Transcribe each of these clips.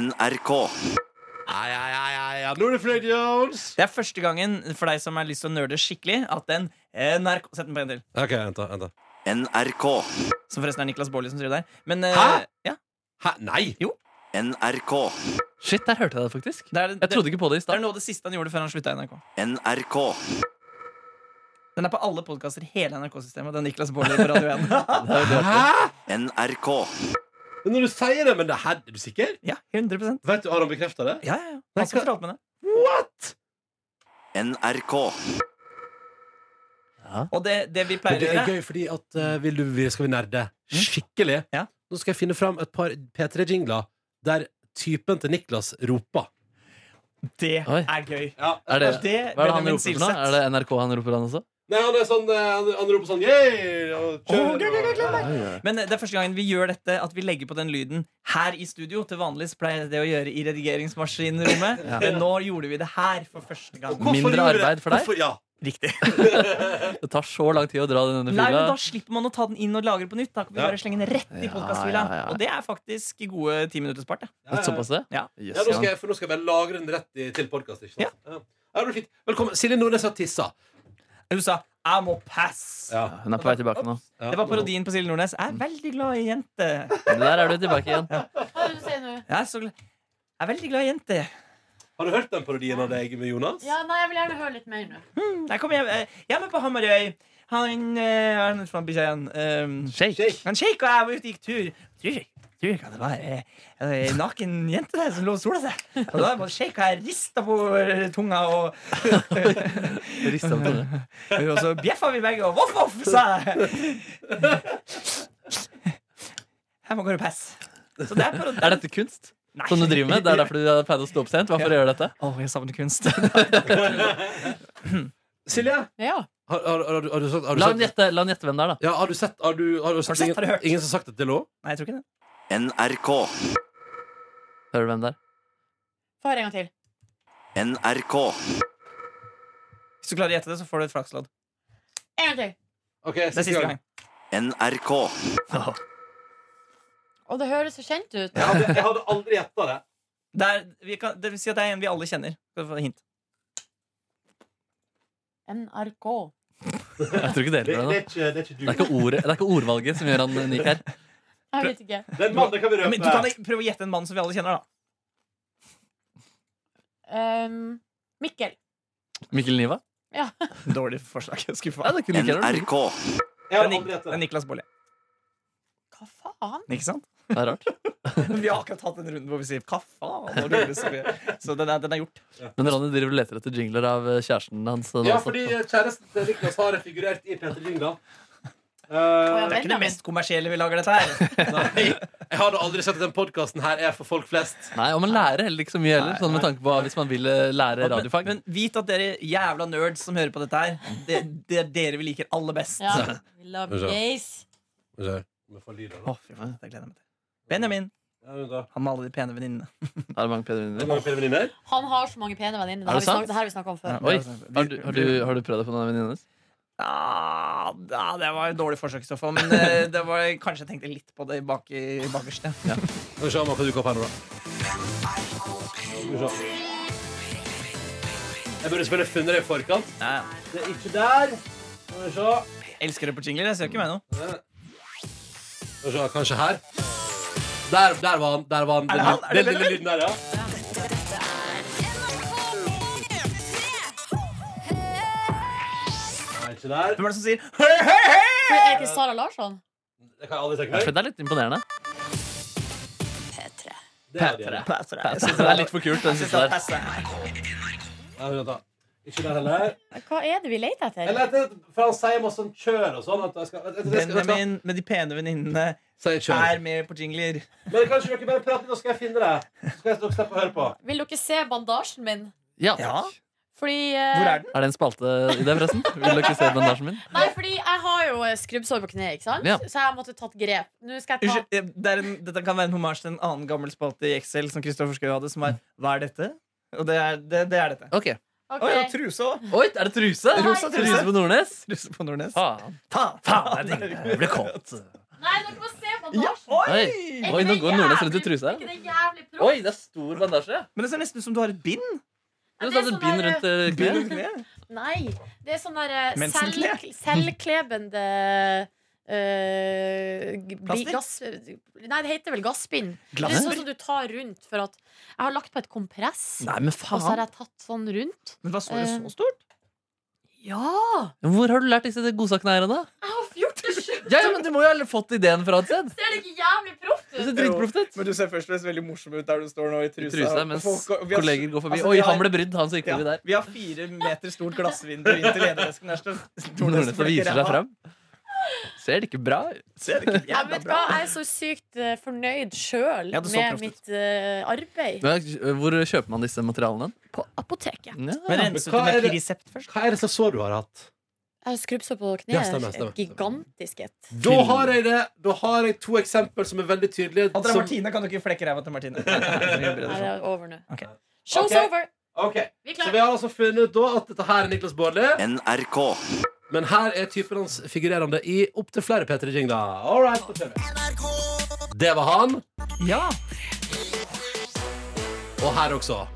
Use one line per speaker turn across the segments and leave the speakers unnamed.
NRK.
Ai, ai, ai, ai, ai. Nå er det Fred Jones.
Det er første gangen for deg som har lyst til å nerde skikkelig, at en NRK Sett den på en til.
Ok, vent da, vent da.
NRK.
Som forresten er Niklas Baarli som skriver der. Men, eh,
Hæ?
Ja,
Hæ? Nei!
NRK.
Shit, der hørte jeg det faktisk.
det, er,
Jeg trodde ikke på det i
det er
stad.
noe av det siste han gjorde før han slutta i NRK.
NRK.
Den er på alle podkaster i hele NRK-systemet. Den Niklas Baarli på Radio 1.
Hæ?
NRK.
Når du sier det, men det her Er du sikker?
ja, 100
Vet du, Har han bekrefta det?
Ja, ja, ja. Han som
hva-
fortalte meg det.
What?!
NRK.
Og det, det vi pleier
Men det
å
er
gjøre
gøy, fordi at eh, vil du, vi skal vi nerde skikkelig.
Ja.
Nå skal jeg finne fram et par P3-jingler der typen til Niklas roper.
Det
Oi.
er gøy.
Er det,
Altså, Det,
hva er det han
Benjamin
roper for noe?
Silseth.
Er det NRK han roper han også?
Nei, han er sånn eh, Han, han roper sånn yeah, og
Å, gøy, gøy, gøy, gøy,
og-
Men eh, det er første gangen vi gjør dette at vi legger på den lyden her i studio. Til vanlig så pleier jeg det å gjøre i redigeringsmaskinrommet, men nå gjorde vi det her for første gang.
Hvorfor
Mindre
gjorde jeg-
arbeid for deg?
Hvorfor, ja.
Riktig.
Det tar så lang tid å dra denne
Nei, men Da
fila.
slipper man å ta den inn og lagre på nytt. Da kan vi
Ja.
bare slenge den rett i
Ja,
podkastfila.
ja, ja.
Og det er faktisk gode ti minutter spart. det.
Ja, ja, ja.
Såpass det?
Ja.
Jøss,
Ja, nå skal
ja.
jeg, for nå skal jeg bare lagre den rett i, til podkast.
Ja.
Velkommen. Silje Nordnes har tissa.
Hun sa 'jeg må pass'.
Ja.
Hun er på vei tilbake nå.
Det var parodien på Silje Nordnes. Jeg er veldig glad i jenter.
Men der er du tilbake igjen.
Hva er det du sier nå?
Jeg er, så glad. Jeg er veldig glad i jenter.
Har du hørt den parodien av deg med Jonas?
Ja, nei, jeg vil gjerne høre litt mer nå.
Jeg kommer hjem, eh, hjemme på Hamarøy. Han eh, hva er det for en bikkje igjen? Um,
Shake.
Shake.
Han Sheik og jeg var ute og gikk tur. Tror, tror ikke at det var eh, ei naken jente der som lå og sola seg. Og da var Sheik og jeg rista på eh, tunga, og,
Rista på det.
og så bjeffa vi begge, og voff, voff, sa jeg. Jeg må gå og pisse. Så det er bare
Er dette kunst? Som du driver med? Det er derfor du har pleid å stå opp sent? Hva for å gjøre dette?
Å, jeg savner kunst.
Silje,
Ja.
har, har, har, du- har du sagt Har du
La ham
sagt,
gjette, la ham gjette hvem det er, da.
ja, har du sett, har du, har du sett,
sett, har du
ingen,
hørt?
ingen som har sagt det til henne?
Nei, jeg tror ikke det.
NRK.
Hører du hvem det er?
Far en gang til.
NRK.
Hvis du klarer å gjette det, så får du et flakslodd.
En gang til.
Okay,
Det er siste gang.
NRK.
Og det høres så kjent ut.
Jeg hadde, jeg hadde aldri gjetta det.
Det, er, vi kan, det vil si at det er en vi alle kjenner. Skal du få et hint?
NRK.
Jeg tror ikke det
Det, det,
hjelper deg.
er ikke, det er ikke du.
Det er ikke, ordet, det er ikke ordvalget som gjør han unik her.
Jeg vet ikke.
Det er en mann, det kan vi
Men du kan
røpe.
ikke prøve å gjette en mann som vi alle kjenner, da.
Ehm, Mikkel.
Mikkel Niva?
Dårlig forslag. Skuffa.
Nei, det kunne ikke jeg gjort.
NRK.
Jeg
Det er,
hadde aldri
Nik det er
gjetta det.
Niklas Baarli.
Hva faen?
Ikke sant?
Det er rart.
Vi har akkurat hatt en runde hvor vi sier 'hva faen'? og det blir Så så den er, den er gjort.
Men Ronny driver og leter etter jingler av eh, kjæresten hans. eh, nå,
Ja,
så-
fordi kjæresten til Niklas har figurert i Peter Lyngdal.
Det er ikke det mest kommersielle vi lager, dette her.
nei, jeg hadde aldri sett at den podkasten her er for folk flest.
Nei, Og man lærer heller ikke så mye heller, sånn med tanke på hvis man vil eh, lære radiofag.
Men vit at dere jævla nerds som hører på dette her, det, det er dere vi liker aller best.
Ja. We love
Unnskyld.
gays.
Vi får lyd av det.
Å, fy faen, det gleder jeg meg til. Benjamin,
Ja, men da.
han med alle de pene venninnene.
Er det mange Peder
Det er
Vinner?
mange flere venninner.
Han har så mange pene venninner.
Er det
Det,
sant?
det, det her har vi snakka om før.
Oi, har du, har, du, har du prøvd deg på noen av venninnene hennes?
Ah, ja, det var et dårlig forsøk i så fall, men eh, det var, kanskje jeg tenkte litt på det bak i bakerst. ja.
Skal vi se om han kan dukke opp her nå, da. Skal vi se. Jeg burde selvfølgelig funnet det i forkant.
Ja, ja.
Det er ikke der. Skal vi se.
Elsker det på jingler. Jeg ser ikke meg nå.
Skal vi se, kanskje her. Der, der var han. Der var han.
Er det han? Er det
Den lille lyden der, ja. Nei, ikke der.
Hvem er det som sier hei, hei, hei?
Men Er ikke Sara Larsson?
Det kan jeg aldri
Ja,
tenke
for
meg.
Det er litt imponerende.
P3.
Det er det.
Passer
Jeg synes Det er litt for kult, den siste der.
Ja, vent da. Ikke der heller.
Hva er det vi leter etter?
Eller etter, for han sier masse sånn kjør og sånn. At jeg skal, jeg, jeg, jeg skal, jeg skal.
Benjamin med de pene venninnene
Sier kjør.
er med på jingler.
Men kanskje dere bare prater, nå skal jeg finne det. Så skal jeg dere slippe å høre på.
Vil dere se bandasjen min?
Ja.
Ja.
Fordi eh,
Hvor er den?
Er det en spalte i det, forresten? Vil dere se bandasjen min?
Nei, fordi jeg har jo eh, skrubbsår på kneet, ikke sant?
Ja.
Så jeg måtte tatt grep. Nå skal jeg ta
Unnskyld, eh, det er en, dette kan være en hommage til en annen gammel spalte i Excel som Kristoffer Schou hadde, som er 'Hva er dette?' Og det er, det, det er dette.
Ok.
Ok.
Å ja, truse òg!
Oi, er det truse?
Rosa
truse.
på Nordnes?
Truse på Nordnes.
Faen.
Faen!
Faen, jeg ble kåt.
Nei, dere må se på bandasjen.
Oi!
Er ikke
Oi, nå
det
går Nordnes rundt i
jævlig-
trusa.
Er ikke det jævlig proff?
Oi, det er stor bandasje.
Men det ser nesten ut som du har et bind.
Du
Ja, det
har
er
satt
sånn
et bind
der-
rundt eh,
Bind
kneet.
rundt kneet.
Nei, det er sånn der eh,
Mensenkle?
selv, selvklebende eh, g-
Plaster?
gass, Nei, det heter vel gassbind. Det er
Glasser?
sånn som du tar rundt for at Jeg har lagt på et kompress,
Nei, men
og så har
faen.
jeg tatt sånn rundt.
Men hva står det
Eh.
så stort?
Ja!
Hvor har du lært disse godsakene her, da?
Jeg har gjort det sjøl!
Ja, ja, men Du må jo ha fått ideen fra et sted.
Ser det ikke jævlig proft
Det
ut?
ser dritproft ut.
Men du ser først og fremst veldig morsom ut der du står nå i trusa.
Trusa,
og
mens
folk- og vi har-
kolleger går forbi.
altså, vi
Oi,
har-
han ble brydd, han som gikk
Ja.
forbi der.
Vi har fire meter stort glassvindu inn til lederdesken. der står-
Nordnes
flekker
viser seg
ræva.
fram. Ser det ikke bra ut?
Ser det ikke
Jeg, vet
jævla
hva,
bra ut?
jeg er så sykt eh, fornøyd sjøl
Ja, det så
med
proft ut.
mitt eh, arbeid.
Men Hvor kjøper man disse materialene?
På apoteket.
Men
Ja.
renset du
hva er
med
det-
Pirisept først?
Hva er det slags sår du har hatt?
Jeg har skrubbsår på
Ja, stemmer,
kneet.
stemmer.
Et gigantisk et.
Da har jeg det. Da har jeg to eksempel som er veldig tydelige.
André
som-
Martine, kan du ikke flekke ræva til Martine?
Nei, det er over nå.
Ok.
Show's
Ok.
over!
Ok,
Vi er
Så
klare.
vi har altså funnet ut da at dette her er Niklas Baarli.
NRK.
Men her er typen hans figurerende i opptil flere P3 Jingler. All right, da kjører vi. Det var han.
Ja.
Og her også.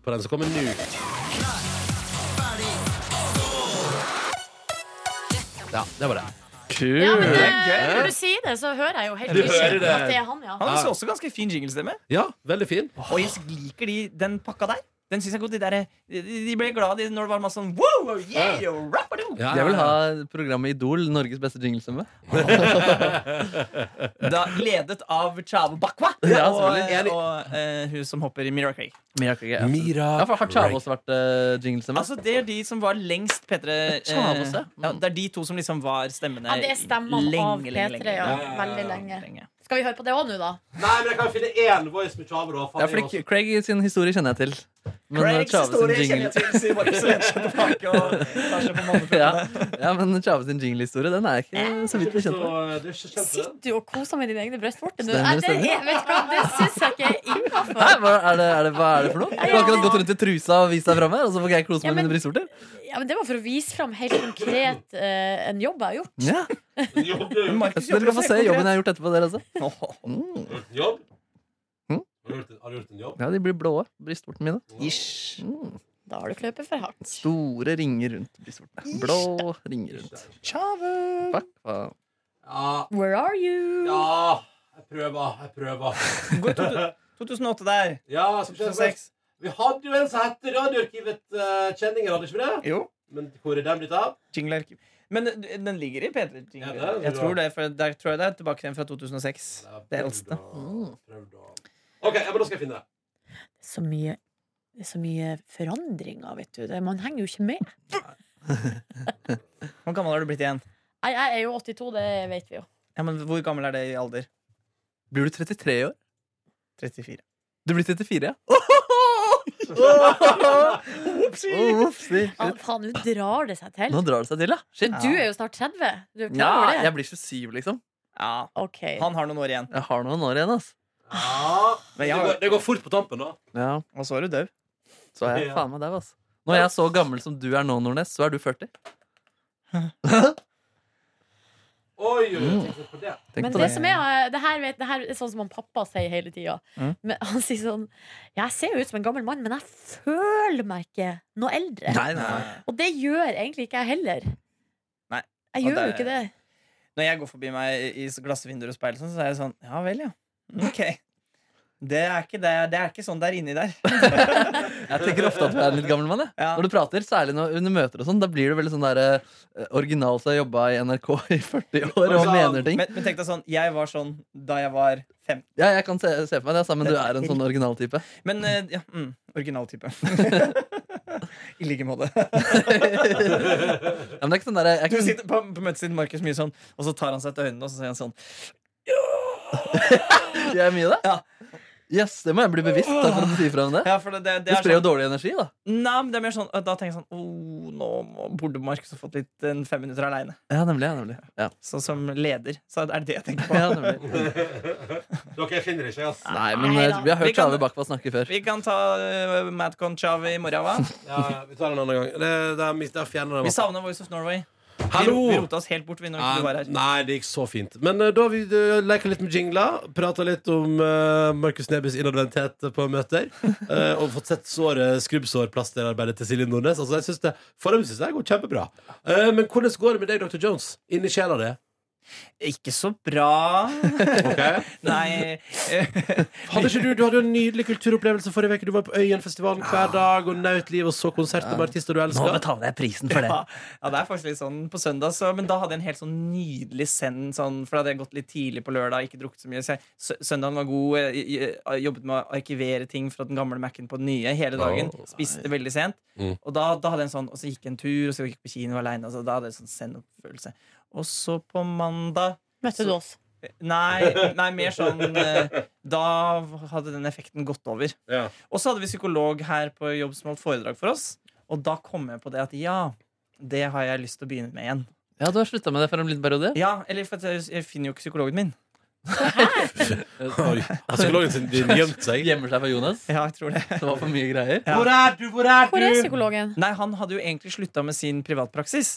På den som kommer nå. Ja, det var det.
Ja, men
Kult!
det,
gøy.
når du sier det, så hører jeg jo helt
Du
ikke
hører det.
at det er han, ja.
Han har også ganske fin jinglestemme.
Ja, veldig fin.
Og jeg liker de, den pakka der. Den synes jeg godt, De, der, de, de ble glad de, når det var masse sånn wow, yeah, yo, rappadoo.
Ja,
Jeg vil ha programmet Idol, Norges beste jinglestemme.
da, Ledet av Chavo Bakwa
Ja,
og,
selvfølgelig.
og eh, hun som hopper i Miracle.
Miracle Gate.
Mira
Ja, for har Chavos vært uh, jinglestemme?
Altså, det er de som var lengst P3 eh,
Chavos, ja.
ja, Det er de to som liksom var stemmene
Ja, det er stemmene av P3 ja. veldig lenge.
lenge.
Skal vi høre på det òg nå, da?
Nei, men jeg kan finne én voice med Chavo. da. Faen,
Ja,
jeg
fordi Craig sin historie kjenner jeg til. Men eh,
Craigs
Chavez sin
historie kjenner
jingle
jeg til, sier Markus og lener seg tilbake og tar seg på måneprøven.
ja. ja, men Chavez sin jinglehistorie Den er jeg ikke så vidt
også.
bekjent med.
Så, eh, det er ikke kjent for det.
Sitter du og koser med dine egne brystvorter nå?
Stemmer,
Nei, Det,
stemmer.
er- vet du hva, det syns jeg ikke er
Hæ,
innafor.
hva er, det, er det, hva er det for noe? Du har akkurat gått rundt i trusa og vist deg fram her, og så får jeg klose
Ja,
med
men-
mine brystvorter?
Ja, men det var for å vise fram helt konkret eh, en jobb jeg har gjort.
Ja.
Jobb, du.
Så
Markus
Dere
jobber
kan få
også
se
helt konkret.
jobben jeg har gjort etterpå, dere også. Mm.
Jobb? Har,
Hm?
du gjort en, har du gjort en jobb?
Ja, de blir blå, brystvortene mine.
Ish.
Mm.
Da har du kløpet for hardt.
Store ringer rundt brystvortene. Blå ringer rundt. Fuck, hva-
Ja,
Where are you?
ja Jeg prøver, jeg prøver.
Gå i 2000 2008 der.
Ja, skal vi se, seks. Vi hadde jo en som het Radioarkivet eh, Kjenninger, hadde ikke vi det?
Jo.
Men hvor er den blitt av?
Jinglearkiv. Men den- den ligger i P3.
Ja, det er
Jingle.
det.
Jeg tror det, for der tror jeg det er tilbake igjen fra 2006. Det eldste. Mm.
OK, ja, men da skal jeg finne det.
Så mye, det er så mye forandringer, vet du. Det, man henger jo ikke med.
Hvor gammel er du blitt igjen?
Nei, jeg er jo 82, det vet vi jo.
Ja, men Hvor gammel er det i alder?
Blir du 33 i år?
34.
Du blir 34, ja?
Opsi!
Å, Opsi.
Ja, faen, nå drar det seg til.
Nå drar det seg til, ja. Shit.
Du er jo snart 30. Du er
Ja,
klar over det?
jeg blir 27, liksom.
Ja,
OK.
han har noen år igjen.
Jeg har noen år igjen, ass.
Ja.
Men
Det,
jeg,
går,
har-
det går fort på tampen, da.
Ja,
og så er du død.
så er jeg faen meg dau, ass. Når jeg er så gammel som du er nå, Nordnes, så er du 40.
Oi, oi,
Mm.
oi, tenk litt på det.
Tenk
Men
på
det
det.
som er, eh, det her, vet, det her er sånn som han pappa sier hele tida.
Mm.
Men Han sier sånn Jeg ser jo ut som en gammel mann, men jeg føler meg ikke noe eldre.
Nei, nei.
Og det gjør egentlig ikke jeg heller.
Nei. Og
Jeg gjør jo
det-
ikke det.
Når jeg går forbi meg i glassvinduer og speil, sånn, så er jeg sånn Ja vel, ja. Mm, Ok. Det er ikke, det, det er ikke sånn der inni der.
Jeg tenker ofte at du er en litt gammel mann. Jeg.
Ja.
Når du prater, særlig når, under møter og sånn, da blir du veldig sånn der eh, original som har jobba i NRK i 40 år og mener ting.
Men, men tenk deg sånn, jeg var sånn da jeg var 15.
Ja, jeg kan se, se for meg det, ass, men du er en sånn originaltype.
Men eh, ja, mm, originaltype. I like måte.
Ja, men det er ikke sånn der, jeg,
Du
kan,
sitter på, på møtet sitter Markus mye sånn, og så tar han seg til øynene og så sier han sånn
gjør jeg mye av det?
Ja.
Yes, det må jeg bli bevisst da, for at du sier fra om det.
ja, for det, det,
Du
det er
sprer jo
sånn,
dårlig energi, da.
Nei, men det er mer sånn Da tenker jeg sånn oh, Nå må- burde Markus ha fått litt en fem minutter aleine.
Ja, nemlig. Ja, nemlig. Ja.
Så som leder så er det det jeg tenker på.
Ja, nemlig.
Dere, jeg finner det ikke, ass.
Nei, men
Nei
eh,
da.
vi
Vi
har hørt
kan-
Tjave Bakva snakke før.
Vi kan ta uh, Madcon Chavi i morgen, hva?
Ja, vi tar det en annen gang. Det, det, er mis- det er fjernet det.
Vi savner Voice of Norway.
Hallo!
Vi rota oss helt bort vi når ikke du var her.
Nei, det gikk så fint. Men eh, da har vi uh, leka litt med jingler, prata litt om eh, Markus Nebys innadvendthet på møter. eh, og fått sett såret, skrubbsårplasterarbeidet til Silje Nordnes. Altså, jeg synes det, for dem syns jeg det går kjempebra. Eh, men hvordan går det med deg, Dr. Jones? Inni sjela di?
Ikke så bra.
Okay.
Nei. øh,
Hadde ikke du, du hadde jo en nydelig kulturopplevelse forrige uke. Du var på Øyenfestivalen hver dag og nøt livet og så konsert med artister du
Nå
elsker.
betaler jeg prisen for det.
Ja, ja, det er faktisk litt sånn på søndag, så, men da hadde jeg en helt sånn nydelig send, sånn, for da hadde jeg gått litt tidlig på lørdag, ikke drukket så mye. Så jeg, sø- søndagen var god, jeg, jeg, jeg jobbet med å arkivere ting fra den gamle Mac-en på den nye hele dagen. Spiste veldig sent.
Mm.
Og da, da hadde jeg en sånn, og så gikk jeg en tur, og så gikk jeg på kino alene, og så da hadde jeg en sånn send-opp-følelse. Og så på mandag
Møtte du oss?
Nei, nei mer sånn eh, Da hadde den effekten gått over.
Ja.
Og så hadde vi psykolog her på jobb som holdt foredrag for oss. Og da kom jeg på det at ja, det har jeg lyst til å begynne med igjen.
Ja, du har slutta med det for en liten periode?
Ja, eller for at jeg, jeg finner jo ikke psykologen min.
Oi, Altså, Psykologen sin din gjemte seg.
Gjemmer seg for Jonas?
Ja, jeg tror det
Det var for mye greier.
Ja.
Hvor er du, hvor er
Hvor er psykologen?
Nei, han hadde jo egentlig slutta med sin privatpraksis.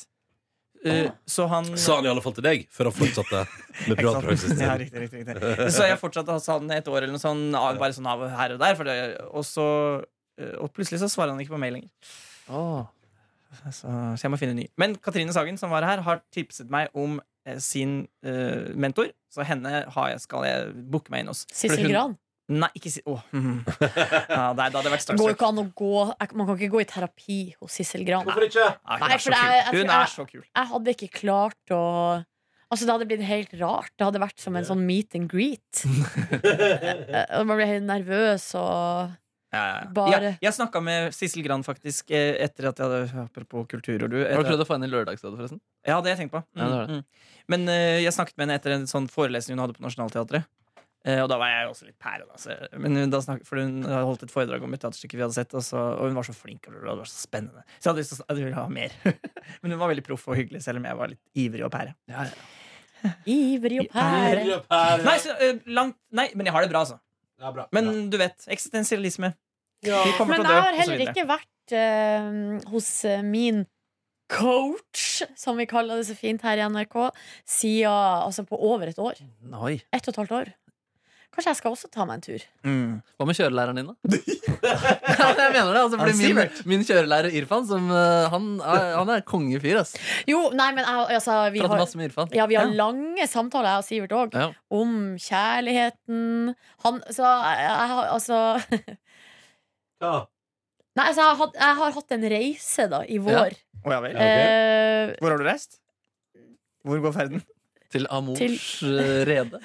Eh, Så han
Sa han i alle fall til deg, før han fortsatte med
Ikke sant?
privatpraksis.
Ja, riktig, riktig, riktig. Så jeg fortsatte hos han et år eller noe sånt, av- bare sånn av her og der. For det, og, så, eh, og plutselig så svarer han ikke på mail lenger.
Åh.
Så, så jeg må finne en ny. Men Katrine Sagen, som var her, har tipset meg om eh, sin eh, mentor. Så henne har jeg, skal jeg booke meg inn hos.
Sissel Gran?
Nei, ikke si... Åh. mhm. ja, nei, da hadde jeg vært
Det går
starstruck.
jo ikke an å gå jeg- Man kan ikke gå i terapi hos Sissel Gran.
ikke?
Nei,
Nei,
hun, er
for
så
det er- jeg
kul.
tror-
hun er så kul.
Jeg hadde ikke klart å Altså, det hadde blitt helt rart. Det hadde vært som en sånn meet and greet. Eh, og Man ble helt nervøs og
Ja, ja, ja.
Bare-
Jeg, jeg snakka med Sissel Gran faktisk eh, etter at jeg hadde Apropos kultur og du.
Har
etter
du prøvd å få henne i Lørdagsrådet, forresten?
Ja, det har jeg tenkt på. Mm,
Ja, det har du.
mm. Men eh, jeg snakket med henne etter en sånn forelesning hun hadde på Nationaltheatret. Eh, og da var jeg jo også litt pære. Da, så, men hun- da snakket, for hun hadde holdt et foredrag om et teaterstykke vi hadde sett, og, så, og hun var så flink. Og det var så spennende Så jeg hadde lyst til å jeg ville ha mer. men hun var veldig proff og hyggelig, selv om jeg var litt ivrig og pære.
ivrig og pære.
Nei, så, eh, langt, nei, men jeg har det bra, altså. Men du vet, eksistensialisme. Vi kommer
Men
til å dø,
jeg har
og så
heller
videre.
ikke vært eh, hos eh, min coach, som vi kaller det så fint her i NRK, siden altså på over et år.
Oi.
Ett og et halvt år. Kanskje jeg skal også ta meg en tur.
Mm.
Hva med kjørelæreren din, da? ja, jeg mener det, altså,
Han
fordi min, min kjørelærer Irfan, som, eh, han, er, han er kongefyr. ass.
Jo, nei, men jeg, altså vi
Prater
har,
masse med Irfan.
ja, vi har lange samtaler, jeg og Sivert òg,
Ja.
om kjærligheten. Han Så jeg, jeg har altså Nei, altså, jeg har, hatt- jeg har hatt en reise da, i vår.
Å, ja vel.
Eh,
Hvor har du reist? Hvor går ferden?
Til Amors
Til-
eh, rede.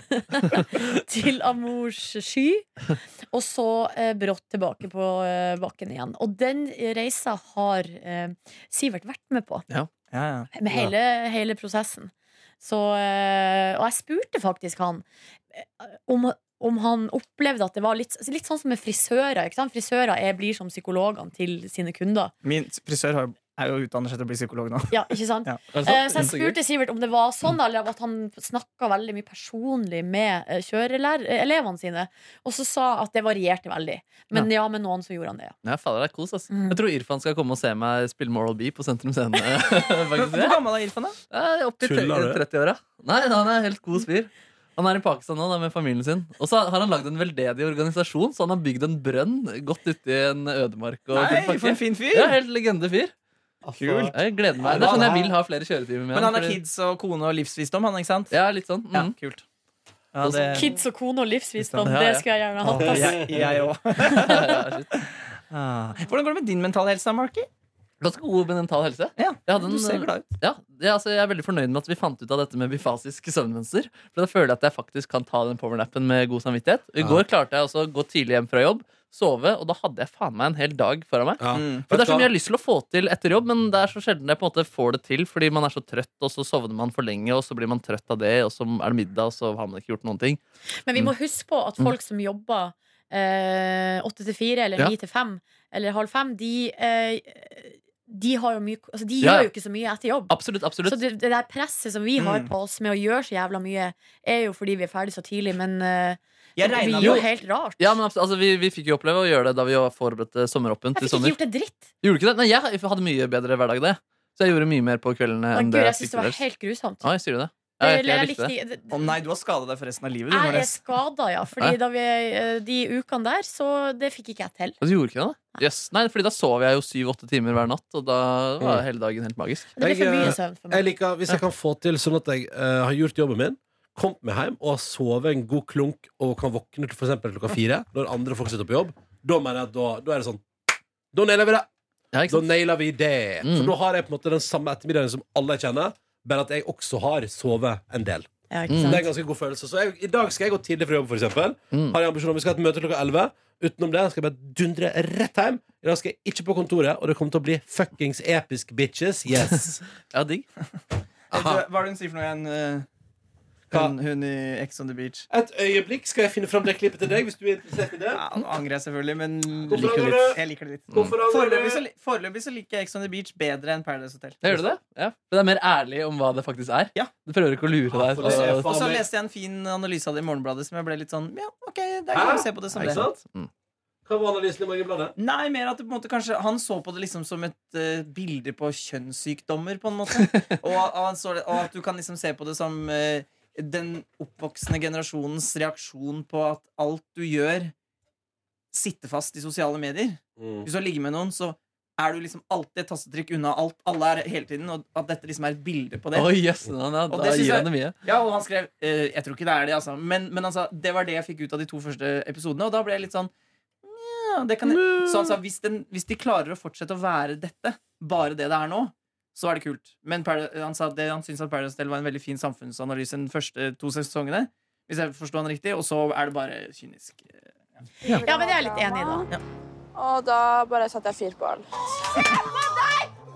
til Amors sky, og så eh, brått tilbake på eh, bakken igjen. Og den reisa har eh, Sivert vært med på.
Ja, ja.
Med hele, hele prosessen. Så, eh, og jeg spurte faktisk han eh, om, om han opplevde at det var litt, litt sånn som med frisører. Ikke sant? Frisører er, blir som psykologene til sine kunder.
Min frisør har jo- er jo utdanner seg til å bli psykolog nå.
Ja, ikke sant?
Ja.
Eh, Så jeg spurte Sivert om det var sånn, eller at han snakka veldig mye personlig med eh, kjørelærer- eh, elevene sine. Og så sa at det varierte veldig. Men ja, med noen så gjorde han det, ja.
Ja, fader, det er kos, ass.
Mm.
Jeg tror Irfan skal komme og se meg spille Moral B på Sentrum Scene.
Hvor
Faktisk, ja.
gammel er Irfan, da?
Ja, opp i
Tuller du?
30-åra. Nei, han er helt god fyr. Han er i Pakistan nå da, med familien sin. Og så har han lagd en veldedig organisasjon, så han har bygd en brønn godt ute i en ødemark. Og full
Nei,
pakke.
for en fin fyr! Altså,
ja, helt legende fyr.
Kult.
Jeg gleder
Ja,
meg. Det
han
er sånn jeg
er-
vil ha flere kjøretimer med
Men han har
fordi-
kids og kone og livsvisdom, han, ikke sant?
Ja, litt sånn.
Ja,
Mm.
kult. Ja,
Og
det...
Kids og kone og livsvisdom,
Ja, ja.
det skulle jeg gjerne hatt.
Eh. Ja,
ass.
jeg- jeg òg.
Ja. ja, shit.
Ah. Hvordan går det med din mentale helse, Marky?
Ganske god mental helse.
Ja,
Jeg hadde
du
en-
ser glad ut.
Ja, jeg, altså, jeg er veldig fornøyd med at vi fant ut av dette med bifasisk søvnmønster. For da føler jeg at jeg faktisk kan ta den powernappen med god samvittighet. I
Ja.
går klarte jeg også å gå tidlig hjem fra jobb, sove, og da hadde jeg faen meg en hel dag foran meg.
Ja.
Mm.
For Det er så mye jeg har lyst til å få til etter jobb, men det er så sjelden jeg på en måte får det til. Fordi man er så trøtt, og så sovner man for lenge, og så blir man trøtt av det, og så er det middag, og så har man ikke gjort noen ting.
Men vi må huske på at folk som jobber eh, åtte til fire, eller
Ja.
ni til fem, eller halv fem, de, eh, de, har jo mye, altså, de
Ja, ja.
gjør jo ikke så mye etter jobb.
Absolutt, absolutt.
Så det, det der presset som vi har
Mm.
på oss med å gjøre så jævla mye, er jo fordi vi er ferdig så tidlig, men eh,
Jeg
vi
regna
gjør jo helt rart.
Ja, men abs- altså, vi, vi fikk jo oppleve å gjøre det da vi jo forberedte sommeråpent til
Jeg fikk ikke
sommer.
gjort en dritt.
Gjorde du ikke det? Nei, jeg hadde mye bedre hverdag det. Så jeg gjorde mye mer på kveldene
Å,
enn
Gud,
det
jeg
jeg
syns
fikk
det var
ellers.
helt grusomt.
Å, jeg sier du det? Ja, jeg,
Det-
jeg likte det.
likte- det-
Å nei, du har skada deg for resten av livet. Du,
Jeg er
Nordnes.
skada, ja.
Hæ?
Fordi da vi, eh, de ukene der, så det fikk ikke jeg til.
Og du gjorde ikke det, da? Yes. Nei, fordi da sov jeg jo syv-åtte timer hver natt, og da var hele dagen helt magisk.
Det ble
Jeg,
for
eh,
mye søvn for
Jeg
meg.
liker, hvis jeg kan få til sånn at jeg eh, har gjort jobben min, kommet meg hjem og har sovet en god klunk og kan våkne til for eksempel klokka fire, når andre folk sitter på jobb, da mener jeg at da, da er det sånn Da nailer vi det!
Ja, ikke
Da
sant?
nailer vi det.
Mm.
For da har jeg på en måte den samme ettermiddagen som alle jeg kjenner, bare at jeg også har sovet en del.
Ja,
Mm.
ikke
Det er
sant?
en ganske god følelse. Så jeg, i dag skal jeg gå tidlig fra jobb, for eksempel.
Mm.
Har jeg ambisjon om vi skal ha et møte klokka 11. Utenom det skal jeg bare dundre rett hjem. I dag skal jeg ikke på kontoret, og det kommer til å bli fuckings episk bitches. Yes.
Ja, digg.
Eh, du, Hva er det hun sier for noe igjen? eh, Hun, hun i Ex on the Beach.
Et øyeblikk skal jeg finne fram det klippet til deg, hvis du er interessert i det.
Ja, nå angrer jeg selvfølgelig, men
Hvorfor
liker det
angrer
litt.
du?
jeg liker det litt.
Hvorfor angrer du?
Foreløpig så, li- foreløpig så liker jeg Ex on the Beach bedre enn Paradise Hotel.
Gjør du det? Ja. Men det er mer ærlig om hva det faktisk er?
Ja.
Du prøver ikke å lure deg?
for det er
til å-
Og så
meg.
leste jeg en fin analyse av det i Morgenbladet som jeg ble litt sånn Ja, ok, det er
Hæ?
greit å se på det som
Ikke
det.
sant?
Mm.
Hva var analysen i Morgenbladet?
Nei, mer at det på en måte kanskje Han så på det liksom som et eh, bilde på kjønnssykdommer, på en måte. og, og, han så det, og at du kan liksom se på det som eh, den oppvoksende generasjonens reaksjon på at alt du gjør, sitter fast i sosiale medier. Hvis du har ligget med noen, så er du liksom alltid et tastetrykk unna alt. Alle er hele tiden, og at dette liksom er et bilde på det.
Oi, jøss, ja, da
Og det synes
gir
jeg-
han det mye.
Ja, og han skrev eh, Jeg tror ikke det er det, altså. Men, men altså, det var det jeg fikk ut av de to første episodene, og da ble jeg litt sånn «Nja, det kan jeg. Så han sa hvis, den, hvis de klarer å fortsette å være dette, bare det det er nå, så er det kult. Men Parad- han sa at det, han syntes at Paradise Hotel var en veldig fin samfunnsanalyse den første to sesongene. Hvis jeg forstår han riktig. Og så er det bare kynisk.
Mm.
Ja, men det er jeg litt enig i, da.
Og da bare satte jeg fyr på den.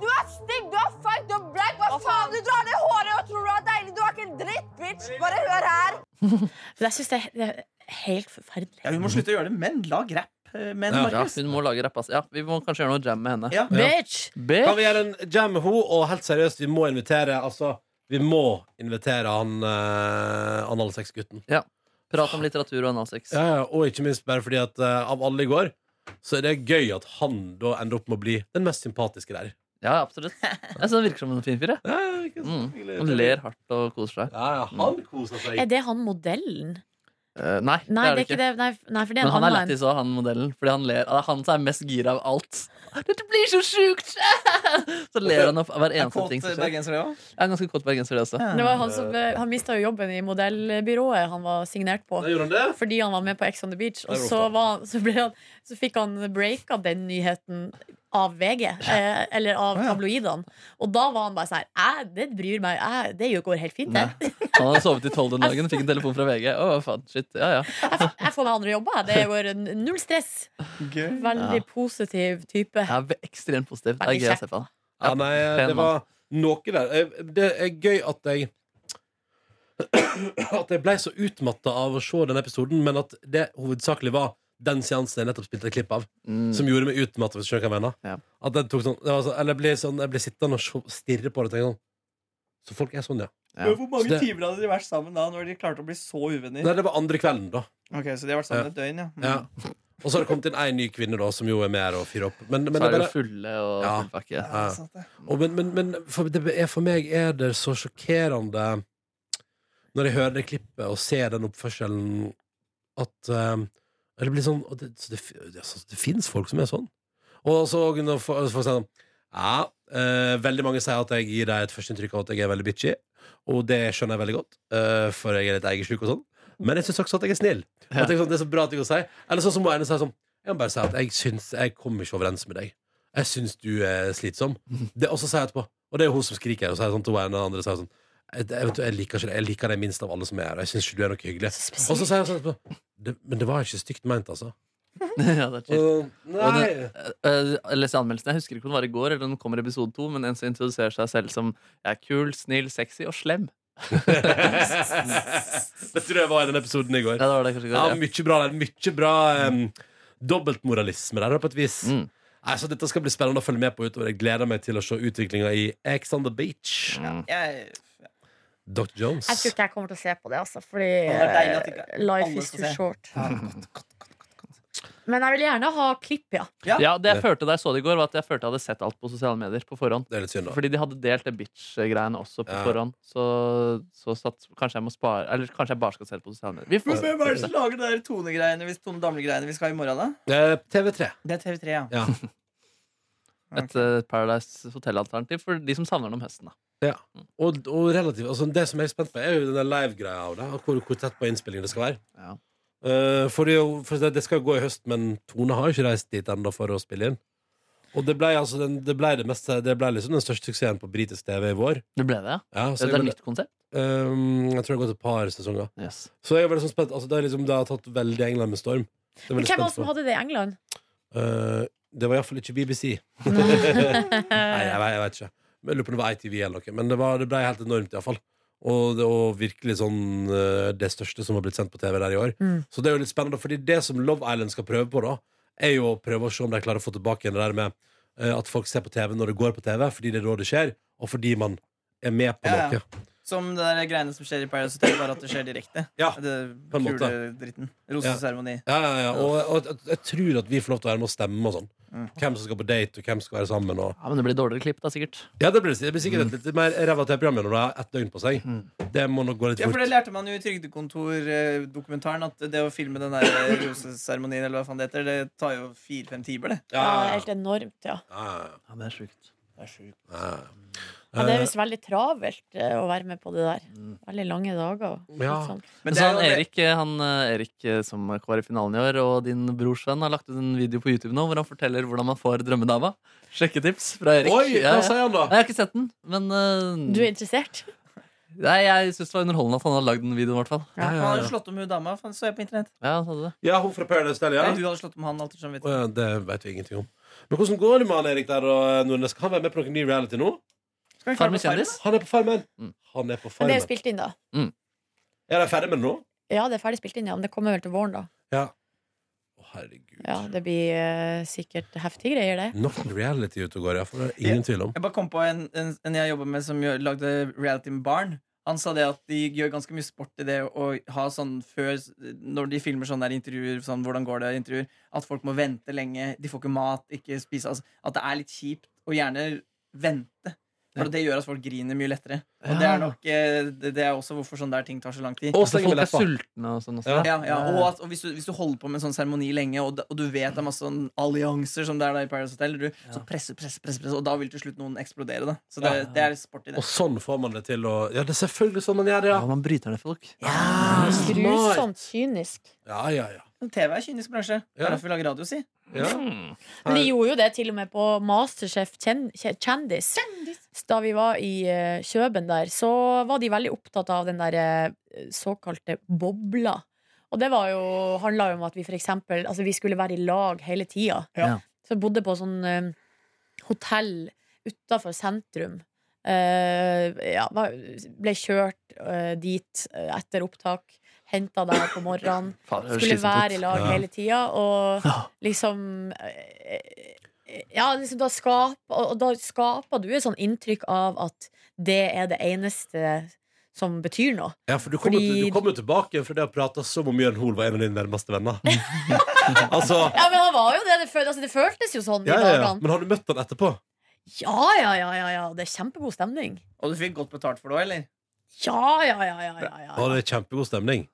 Du er stygg, du er feig, du er black. Hva faen? Du drar ned håret og tror du er deilig. Du er ikke en dritt, bitch. Bare hør her.
Men jeg syns det er- det er helt forferdelig.
Ja, hun må slutte å gjøre det, men lag rap. eh, Men,
Ja.
Ja,
Markus.
hun må lage rappass. Ja, vi må kanskje gjøre noe jam med henne.
Ja.
Bitch!
Kan
B.
vi gjøre en jam med henne, og helt seriøst, vi må invitere Altså, vi må invitere han uh, analsexgutten.
Prat om litteratur og analsex.
Ja, ja, og ikke minst bare fordi at eh, av alle i går, så er det gøy at han da ender opp med å bli den mest sympatiske der.
Ja, absolutt. Jeg synes han virker som en fin fyr. jeg.
Ja, ikke sant?
Mm.
Hyggelig.
Han ler hardt og koser seg.
Ja, ja, han koser seg.
Er det han modellen?
Eh, nei,
Nei, det er ikke det. Nei, nei for det
Men
er en
han er
annen.
lættis òg, han modellen. Fordi han ler. Det er han som er mest gira av alt. Dette blir så sjukt! Så ler han av hver eneste
Kåt eh,
ting som skjer.
bergenser, det òg.
Jeg er ganske kåt bergenser, det også.
Det var han som eh, Han mista jo jobben i modellbyrået han var signert på.
Da gjorde han det?
Fordi han var med på Ex on the Beach. Og
Det er
så,
rått, da.
var, han- så, ble han, så fikk han breaka den nyheten av VG, eh, eller av
Å, ja.
tabloidene. Og da var han bare sånn her "Æ, Det bryr meg. Æ, det jo går helt fint,
Nei.
det.
Han hadde sovet i tolv den dagen, fikk en telefon fra VG. Å, faen, shit, ja, ja
Jeg, får- jeg får meg andre jobber. jeg. Det går n- null stress. Veldig positiv type.
Jeg er ve- ekstremt positiv. Det er
Veldig
gøy å
kjekk,
se på han.
Ja, nei, eh, det var noe der. Eh, Det er gøy at jeg At jeg ble så utmatta av å se den episoden, men at det hovedsakelig var den seansen jeg nettopp spilte et klipp av,
Mm.
som gjorde meg utmatta. Hvis du skjønner hva jeg mener.
Ja.
At den tok sånn, det var sånn Eller jeg ble, sånn, jeg ble sittende og se- stirre på det og tenke sånn Så folk er sånn, ja.
Ja.
Men Hvor mange
Så det-
timer hadde de vært sammen da, når de klarte å bli så uvenner?
Nei, det var andre kvelden, da.
Ok, Så de har vært sammen et døgn, ja. Mm.
Ja. Og så har det kommet inn ei ny kvinne, da, som jo er med her og fyrer opp. Men, men
Så er
det
de
bare-
jo fulle og
Ja.
full pakke.
Ja.
det er sant, det.
Og, men men, men for, det er, for meg er det så sjokkerende når jeg hører det klippet og ser den oppførselen, at eh, Det blir sånn og Det, så det, det, er sånn- det fins folk som er sånn. Og så når fo- folk sier sånn Ja, eh, veldig mange sier at jeg gir deg et førsteinntrykk av at jeg er veldig bitchy, og det skjønner jeg veldig godt, eh, for jeg er litt eiersjuk og sånn. Men jeg syns også at jeg er snill. At jeg, sånn, det er så bra at jeg kan si Eller sånn som hun ene sier sånn Jeg må bare si at jeg syns jeg kommer ikke overens med deg. Jeg syns du er slitsom. Det, og så sier jeg etterpå Og det er jo hun som skriker og sier sånn til henne, og den andre sier sånn jeg, jeg, vet du, jeg liker ikke det. Jeg liker deg minst av alle som er her. og Jeg syns ikke du er noe hyggelig. Og så sier jeg sånn etterpå det, Men det var ikke stygt meint, altså.
ja, det er chill.
Og-
Og
nei.
det- eh, eh, les i anmeldelsen. Jeg husker ikke om det var i går, eller om det kommer i episode to, men en som introduserer seg selv som jeg er kul, snill, sexy og slem.
det tror jeg var i den episoden i går.
Ja, det var det kanskje i
Ja,
går. Ja.
mye bra der. Mye bra em, dobbeltmoralisme der, da, på et vis.
Mm.
Nei, så dette skal bli spennende å følge med på utover. Jeg gleder meg til å se utviklinga i Ex on the Beach.
Mm.
Jeg,
Dr. Jones.
Jeg tror ikke jeg kommer til å se på det, altså. Fordi
det er deilig at ikke
eh, life
alle
is
skal
too
se.
short. Men jeg vil gjerne ha klipp, ja.
Ja, Det jeg følte da jeg så det i går, var at jeg følte jeg hadde sett alt på sosiale medier på forhånd.
Det er litt synd, da.
Fordi de hadde delt det bitch-greiene også på
Ja.
forhånd. Så, så satt, kanskje jeg må spare Eller kanskje jeg bare skal se det på sosiale medier. Vi får
Men
se.
hvem er det
Vi får se.
Lager det der tonegreiene hvis Tone Damli-greiene vi skal ha i morgen, da?
Eh, TV3.
Det er TV3, ja.
Ja.
Et eh, Paradise Hotel-alternativ for de som savner den om høsten. Da.
Og, og relativt, altså det som jeg er spent på, er jo den der live-greia av det. Og hvor, hvor tett på innspillingen det skal være.
Ja.
Eh, for det, er jo- for det, det skal jo gå i høst, men Tone har jo ikke reist dit ennå for å spille inn. Og det ble, altså, den, det, ble det, meste, det ble liksom den største suksessen på britisk TV i vår.
Det ble det, ja?
Ja, så jeg,
Det er et
mener-
nytt konsept?
eh, jeg tror det har gått et par sesonger.
Yes.
Så jeg er veldig sånn spent altså, Det er liksom, det har tatt veldig England med storm. Det er
Men
veldig
hvem var det
spent
som
på.
hadde det i England?
Eh, det var iallfall ikke BBC. Nei, jeg vet, jeg vet ikke. Men Jeg lurer på om det var ITV eller noe. Men det, var, det ble helt enormt, iallfall. Og det var virkelig sånn eh, det største som har blitt sendt på TV der i år.
Mm.
Så det er jo litt spennende, fordi det som Love Island skal prøve på, da, er jo å prøve å se om de klarer å få tilbake igjen det der med eh, at folk ser på TV når det går på TV, fordi det er da det skjer, og fordi man er med på
Ja, ja.
noe.
Som det der greiene som skjer i Paradise Hotel, bare at det skjer direkte.
Ja,
det
på en måte.
Kuledritten. Roseseremoni.
Ja, ja, ja. Og, og jeg, jeg tror at vi får lov til å være med og stemme og sånn.
Mm.
Hvem som skal på date, og hvem som skal være sammen. Og...
Ja, Men det blir dårligere klipp, da, sikkert.
Ja, det blir, det blir sikkert et litt mer ræva TV-program når du har ett døgn på seg. Det må nok gå litt
Ja, for
fort.
det lærte man jo i Trygdekontor-dokumentaren at det å filme den der eh, roseseremonien eller hva faen det heter, det tar jo fire-fem timer, det.
Ja,
Ja, ja,
helt enormt, ja.
ja.
Ja, det er sjukt.
Ja,
ja. Det er visst veldig travelt eh, å være med på det der. Veldig lange dager. og
Ja.
litt sånn.
Men
så
det er
han
jo-
Erik, eh, han, eh, Erik eh, som var i finalen i år, og din brors venn, har lagt ut en video på YouTube nå hvor han forteller hvordan man får drømmedama. Sjekketips fra Erik.
Oi,
Ja,
hva
ja.
sier han da?
Nei, Jeg har ikke sett den, men eh,
Du er interessert?
Nei, jeg syns det var underholdende at han hadde lagd den videoen. i hvert fall
Ja,
Han hadde slått om hun dama, faen, så jeg på internett.
Ja, han hadde det
Ja, hun fra Paradise Hotel, ja.
Nei, hun hadde slått om han alltid sånn,
Å
vet du.
ja, det vet vi ingenting om. Men hvordan går det med han Erik der og Nordnes? Skal han være med på noen ny reality nå?
Skal vi klare
Farmen
på Farmen?
kjendis?
Han er på Farmen!
Mm.
Han er på
Men det er
Farmen.
jo spilt inn, da.
Er de ferdig med det nå?
Ja, det er ferdig spilt inn, ja. Men det kommer vel til våren, da.
Å, herregud.
Ja, Det blir eh, sikkert heftige greier, det.
Nok reality ute og går, ja. For det er ingen tvil om.
Jeg bare kom på en, en, en jeg jobba med som gjør- lagde reality med barn. Han sa det at de gjør ganske mye sport i det å ha sånn før Når de filmer sånne der intervjuer, sånn hvordan går det intervjuer, at folk må vente lenge, de får ikke mat, ikke spise altså, At det er litt kjipt å gjerne vente. For det gjør at folk griner mye lettere. Og det
Ja.
er nok eh, Det det er også hvorfor sånne der ting tar så lang tid.
Og
Altså,
stenge
Folk
med
er
leppa.
sultne og sånn også.
Ja.
Ja, ja, og, at, og hvis, du, hvis du holder på med en sånn seremoni lenge, og, da- og du vet det er masse sånn allianser som det er da i Paradise Hotel, du, så presser, presser, presser, presser, og da vil til slutt noen eksplodere. Da. Så det,
Ja.
det er sport i det.
Og sånn får man det til å Ja, det er selvfølgelig sånn man gjør det,
Ja,
ja. Ah,
man bryter ned folk.
Grusomt kynisk.
Ja, ja, ja.
Men TV er kynisk bransje. Det
Ja.
er derfor vi lager radio, si.
ja.
Mm. Men de gjorde jo det til og med på Masterchef Kjen- Kje- Kjendis. Da vi var i eh, Kjøben der, så var de veldig opptatt av den der eh, såkalte bobla. Og det var jo, handla jo om at vi for eksempel Altså vi skulle være i lag hele tida.
Ja.
Så vi bodde på sånn eh, hotell utafor sentrum. Eh, ja, var- ble kjørt eh, dit eh, etter opptak. Henta der på morgenen.
Faen, det høres
Skulle
slitsomt
være i
ut.
lag
Eh, Ja.
hele tida. Og
Ja.
liksom eh, Ja, liksom da skap, og og da skaper du et sånn inntrykk av at det er det eneste som betyr noe.
Ja, for du kommer
Fordi-
til- du kommer jo tilbake igjen fra det å prate som om Jørn Hoel var en av dine nærmeste venner. altså
Ja, men han var jo det. Det, føl altså, det føltes jo sånn
ja,
i
ja, ja.
dagene.
Men har du møtt han etterpå?
Ja, ja, ja, ja, ja. Det er kjempegod stemning.
Og du fikk godt betalt for det òg, eller?
Ja, ja, ja, ja, ja, ja.
Å, det er kjempegod stemning.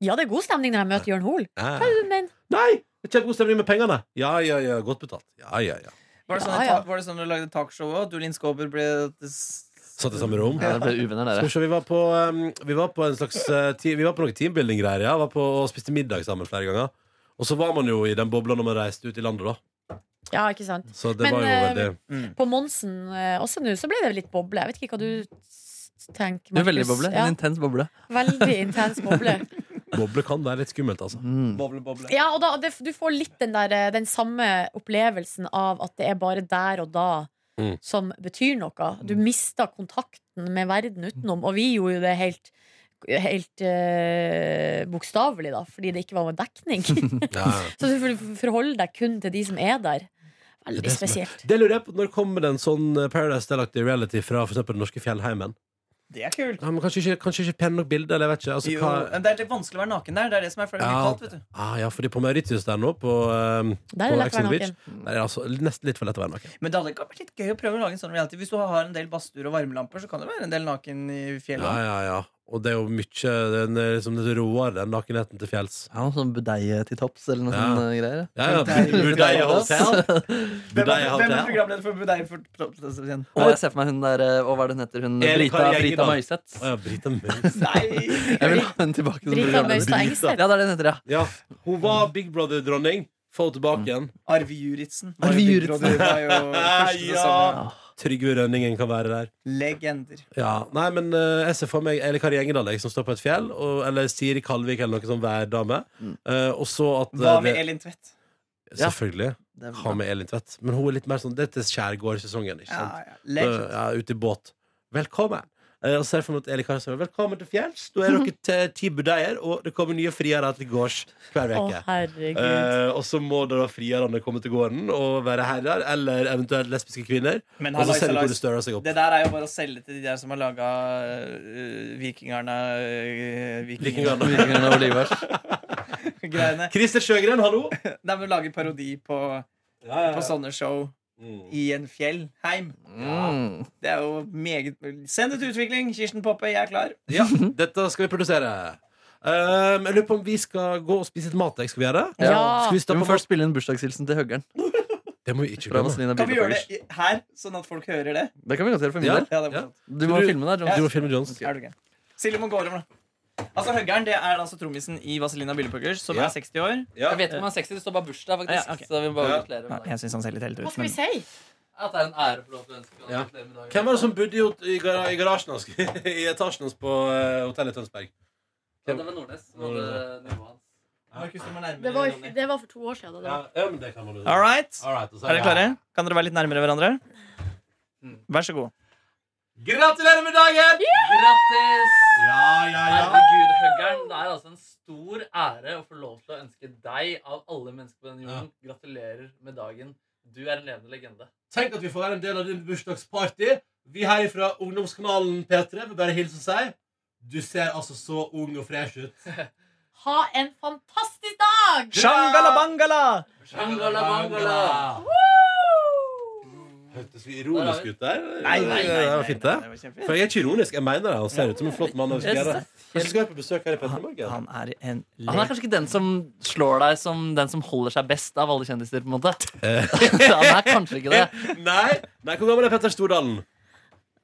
Ja, det er god stemning når jeg møter Jørn Hoel.
Ja.
Hva er det du mener?
Nei! det er Kjempegod stemning med pengene. Ja, ja, ja. Godt betalt. Ja, ja, ja.
Var det sånn,
Ja,
i
ja.
ta- Var det sånn du lagde talkshow òg? Du og Linn Skåber ble
Satt i samme rom.
Ja, dere ble uvenner,
Skal vi se, vi
dere.
var på, um, vi var på en slags eh, te- Vi var på noen teambuilding-greier. Ja. Var på, og spiste middag sammen flere ganger. Og så var man jo i den bobla når man reiste ut i landet, da.
Ja, ikke sant.
Så det
Men,
var jo
eh,
veldig
På Monsen eh, også nå, så ble det litt boble. Jeg vet ikke hva du s- tenker,
Du er veldig
Markus.
boble.
Ja,
En intens boble.
veldig intens boble.
Boble kan være litt skummelt, altså.
Mm.
Boble, boble.
Ja, og da, det, du får litt den, der, eh, den samme opplevelsen av at det er bare der og da
Mm.
som betyr noe. Du mister kontakten med verden utenom, og vi gjorde jo det helt Helt eh, bokstavelig, da, fordi det ikke var noen dekning. Så
Ja, ja.
du for- forholder deg kun til de som er der.
Det er
Veldig
det som er-
spesielt.
eh, Det lurer jeg på, Når kommer det en sånn Paradise Delactive reality fra for eksempel den norske fjellheimen?
Det er kult.
Ja, men kanskje ikke, kanskje ikke pene nok bilder, eller jeg vet ikke. Altså,
Jo,
hva...
men det er litt vanskelig å være naken der. Det er det som er for det blir
Ja.
kaldt, vet du.
ah, ja, fordi på Mauritius der nå, på, um,
Der er
på
det lett å
Ex on
være
the Beach,
naken.
der er det altså nesten litt for lett å være naken.
Men det hadde ikke vært litt gøy å prøve å lage en sånn reality. Hvis du har en del badstuer og varmelamper, så kan det være en del naken i
Ja,
fjellet.
ja, ja. Og det er jo mye den er liksom litt råere, den nakenheten til fjells.
Ja, noe sånn budeie til topps eller noe
Ja.
sånn eh, greier.
Ja, ja.
Budeie-
Budeie Hotel.
Hvem
Budeie
er, hvem er
Hotel.
programleder for Budeie for Proppstøs igjen?
Nei, jeg ser for meg hun der eh, Å, hva er det hun heter? Hun
Erik
Brita,
Harry
Brita
Engdahl.
Møyseth.
Å ja, Brita Møys.
Nei!
Jeg vil ha henne tilbake som
Brita
programleder.
Møystad Engstedt.
Ja, det er det hun heter, ja.
Ja, hun var Big Brother-dronning. Få henne
Mm.
tilbake igjen.
Arve Juritzen.
Arve
Arve
Juritzen.
Juritzen var jo første
Ja.
sesongen.
Trygve Rønningen kan være der.
Legender.
Ja, Nei, men eh, jeg ser for meg Eller Kari Engedal jeg, som står på et fjell, og, eller Siri Kalvik eller noe sånn værdame. Eh, og så at eh,
Hva med
det-
Elin Tvedt?
Selvfølgelig.
Det er
Hva med Elin Tvedt? Men hun er litt mer sånn Det er til skjærgårdssesongen, ikke
Ja,
sant?
ja.
Eh,
Legend.
ja, ute i båt. Velkommen! Eh, og så er det for meg at Eli Kari sier velkommen til fjells. Da er dere te- ti budeier, og det kommer nye friere til gårds hver
Å,
uke.
herregud.
Eh, og så må da frierne komme til gården og være herrer, eller eventuelt lesbiske kvinner.
Men
Og så
hallais,
ser vi hvor det
hallais.
stører seg opp.
Det der er jo bare å selge til de der som har laga uh, vikingerne øh,
Vikingerne.
Vikingerne og Olivers.
Greiene.
Christer Sjøgren, hallo!
Nei, men lage parodi på, på sånne show
Mm.
i en fjellheim.
Mm.
Det er jo meget Send det til utvikling. Kirsten Poppe, jeg er klar.
Ja, dette skal vi produsere. Um, jeg lurer på om vi skal gå og spise litt mat. jeg. Skal vi gjøre det?
Ja.
Skal vi
Du
stappe
må først spille inn bursdagshilsen til Høggern.
Det må vi ikke
Fra
glemme.
Vazelina
Kan vi gjøre
Bilopphøggers.
det her, sånn at folk hører det?
Det kan vi godt gjøre for min
Ja.
del.
Ja, det er
Ja.
morsomt.
Du må
Du-
filme der,
Du
John.
må filme Jones.
Er du gæren? Silje Mongorum, da. Altså, Høggern det er altså trommisen i Vazelina Billypuggers, som
Ja.
er 60 år.
Ja.
Jeg vet ikke om han er 60, det står bare bursdag, faktisk.
Ja, ok.
Så vi må bare
Ja.
gratulerer
Nei,
med dagen.
Jeg syns han ser litt helt ut.
Hva skal
Men
vi si?
At det er en ære for lov til å ønske
Ja.
gratulerer med dagen.
Hvem var det som bodde i, i, gara- i garasjen hans? I etasjen hans på eh, hotellet i Tønsberg?
Ja, det var Nordnes. som hadde nivået hans.
Markus, du må nærmere
Det var,
Ronny.
det var for to år siden. da, Det var.
Ja, men det kan man jo
All right.
All right, og så
Er dere klare? Kan dere være litt nærmere hverandre?
Mm.
Vær så god.
Gratulerer med dagen!
Grattis!
Ja, ja, ja.
Herregud, Høggern. Det er altså en stor ære å få lov til å ønske deg, av alle mennesker på denne jorden, gratulerer med dagen. Du er en levende legende.
Tenk at vi får være en del av din bursdagsparty. Vi her fra ungdomskanalen P3 vil bare hilse og si du ser altså så ung og fresh ut.
Ha en fantastisk dag!
Shangala bangala!
Shangala bangala!
Hørtes vi ironisk ut der?
Nei, nei, nei,
Det var fint, det.
var kjempefint.
For jeg er ikke ironisk. Jeg mener det. Han ser ut som en flott mann. og vi skal
Jeg
gjøre
synes
det. Kanskje vi skal være på besøk her i P3 Morgen?
Han er en
Han er
lek.
kanskje ikke den som slår deg som den som holder seg best av alle kjendiser. på en måte Han er kanskje ikke det.
Nei, nei, hvor gammel er Petter Stordalen?